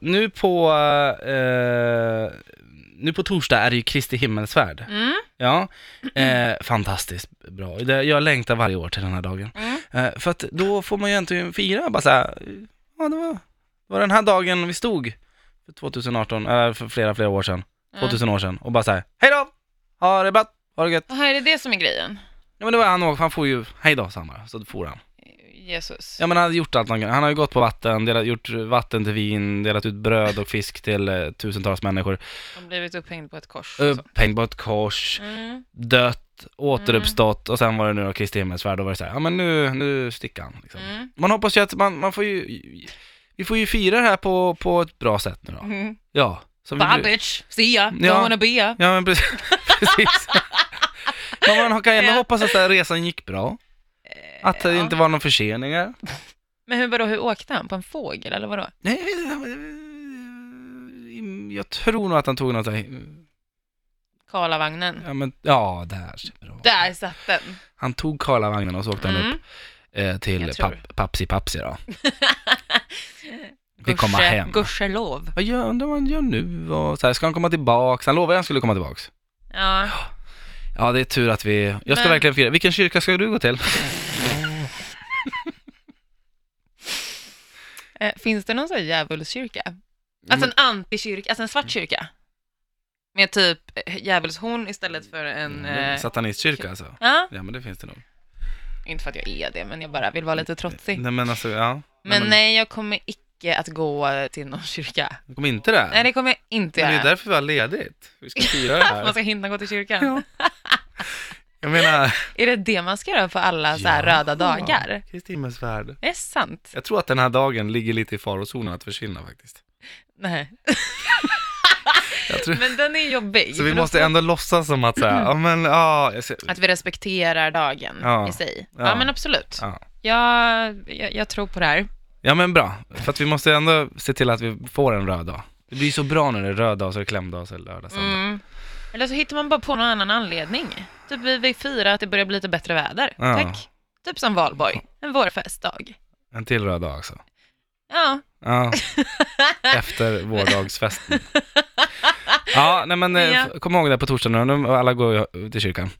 Nu på, eh, nu på torsdag är det ju Kristi himmelsfärd. Mm. Ja, eh, fantastiskt bra. Det- Jag längtar varje år till den här dagen. Mm. Eh, för att då får man ju egentligen fira bara så här, ja det var, det var den här dagen vi stod för 2018, eller för flera, flera år sedan, 2000 år sedan och bara så här, hej då, ha det bra, ha det gött. Aha, är det det som är grejen? Ja men det var han också, han får ju, hej då sa han bara, så for han. Jesus. Ja men han hade gjort allt han kan. Han har ju gått på vatten, delat, gjort vatten till vin, delat ut bröd och fisk till eh, tusentals människor. De har blivit upphängd på ett kors. och så. Upphängd på Eh, ett kors, Mm. dött, återuppstått och sen var det nu då Kristi himmelsfärd, då var det så här, ja men nu, nu sticker han liksom. Mm. Man hoppas ju att man, man får ju, vi får ju fira det här på, på ett bra sätt nu då. Mm. Ja. Som Bye vi, bitch, see ya, don't Ja. wanna be ya. ja men precis. precis. Men man kan ju ändå Ja. hoppas att den här resan gick bra, att det Ja. inte var några förseningar. Men hur, vadå, hur åkte han? På en fågel eller vadå? Nej, jag vet inte. han- eh, Jag tror nog att han tog något så här- Karlavagnen. ja men, ja där ser vi då. Där satt den. Han tog Karlavagnen och så åkte han upp Mm. eh, till Jag tror. pap, Papsi Papsi då. Vi komma Gusche- hem. Gudskelov. Vad gör, undrar vad han gör nu och så här, ska han komma tillbaks? Han lovade att han skulle komma tillbaks. Ja. Ja det är tur att vi, jag ska Men- verkligen fira. Vilken kyrka ska du gå till? Eh, Finns det någon sån här djävulskyrka? Alltså en antikyrka, alltså en Mm. svart kyrka? Med typ eh, djävulshorn istället för Mm, en... eh, Satanistkyrka alltså. Ja, Ja men det finns det nog. inte för att jag är det, men jag bara vill vara lite trotsig. Nej men alltså, ja. Men nej, jag kommer icke att gå till någon kyrka. men, kom inte där. Nej, det kommer jag inte men det är göra. därför vi har ledigt. Vi ska fira det Man här. ska hinna gå till kyrkan. Ja. Jag menar... Är det det man ska göra på alla så här röda dagar? Kristi himmelsfärd. Det är sant. Jag tror att den här dagen ligger lite i farozonen att försvinna faktiskt. Nej. Jag tror... Men den är jobbig. Så vi för då måste ändå låtsas som att säga, ja men ja, jag ser... Att vi respekterar dagen Ja. i sig. Ja, Ja. men absolut. ja. Jag, jag, jag tror på det här. ja men bra, för att vi måste ändå se till att vi får en röd dag. Det blir så bra när det är röd dag, så är det klämdag, så är det lördag, söndag. Mm. Eller så hittar man bara på någon annan anledning. Typ vi vill fira att det börjar bli lite bättre väder. Ja. Tack. Typ som valborg, en vårfestdag. En till röd dag också. Ja, Ja, efter vårdagsfesten. Ja, nej men eh, Ja. f- kom ihåg det på torsdagen, nu alla går ju till kyrkan.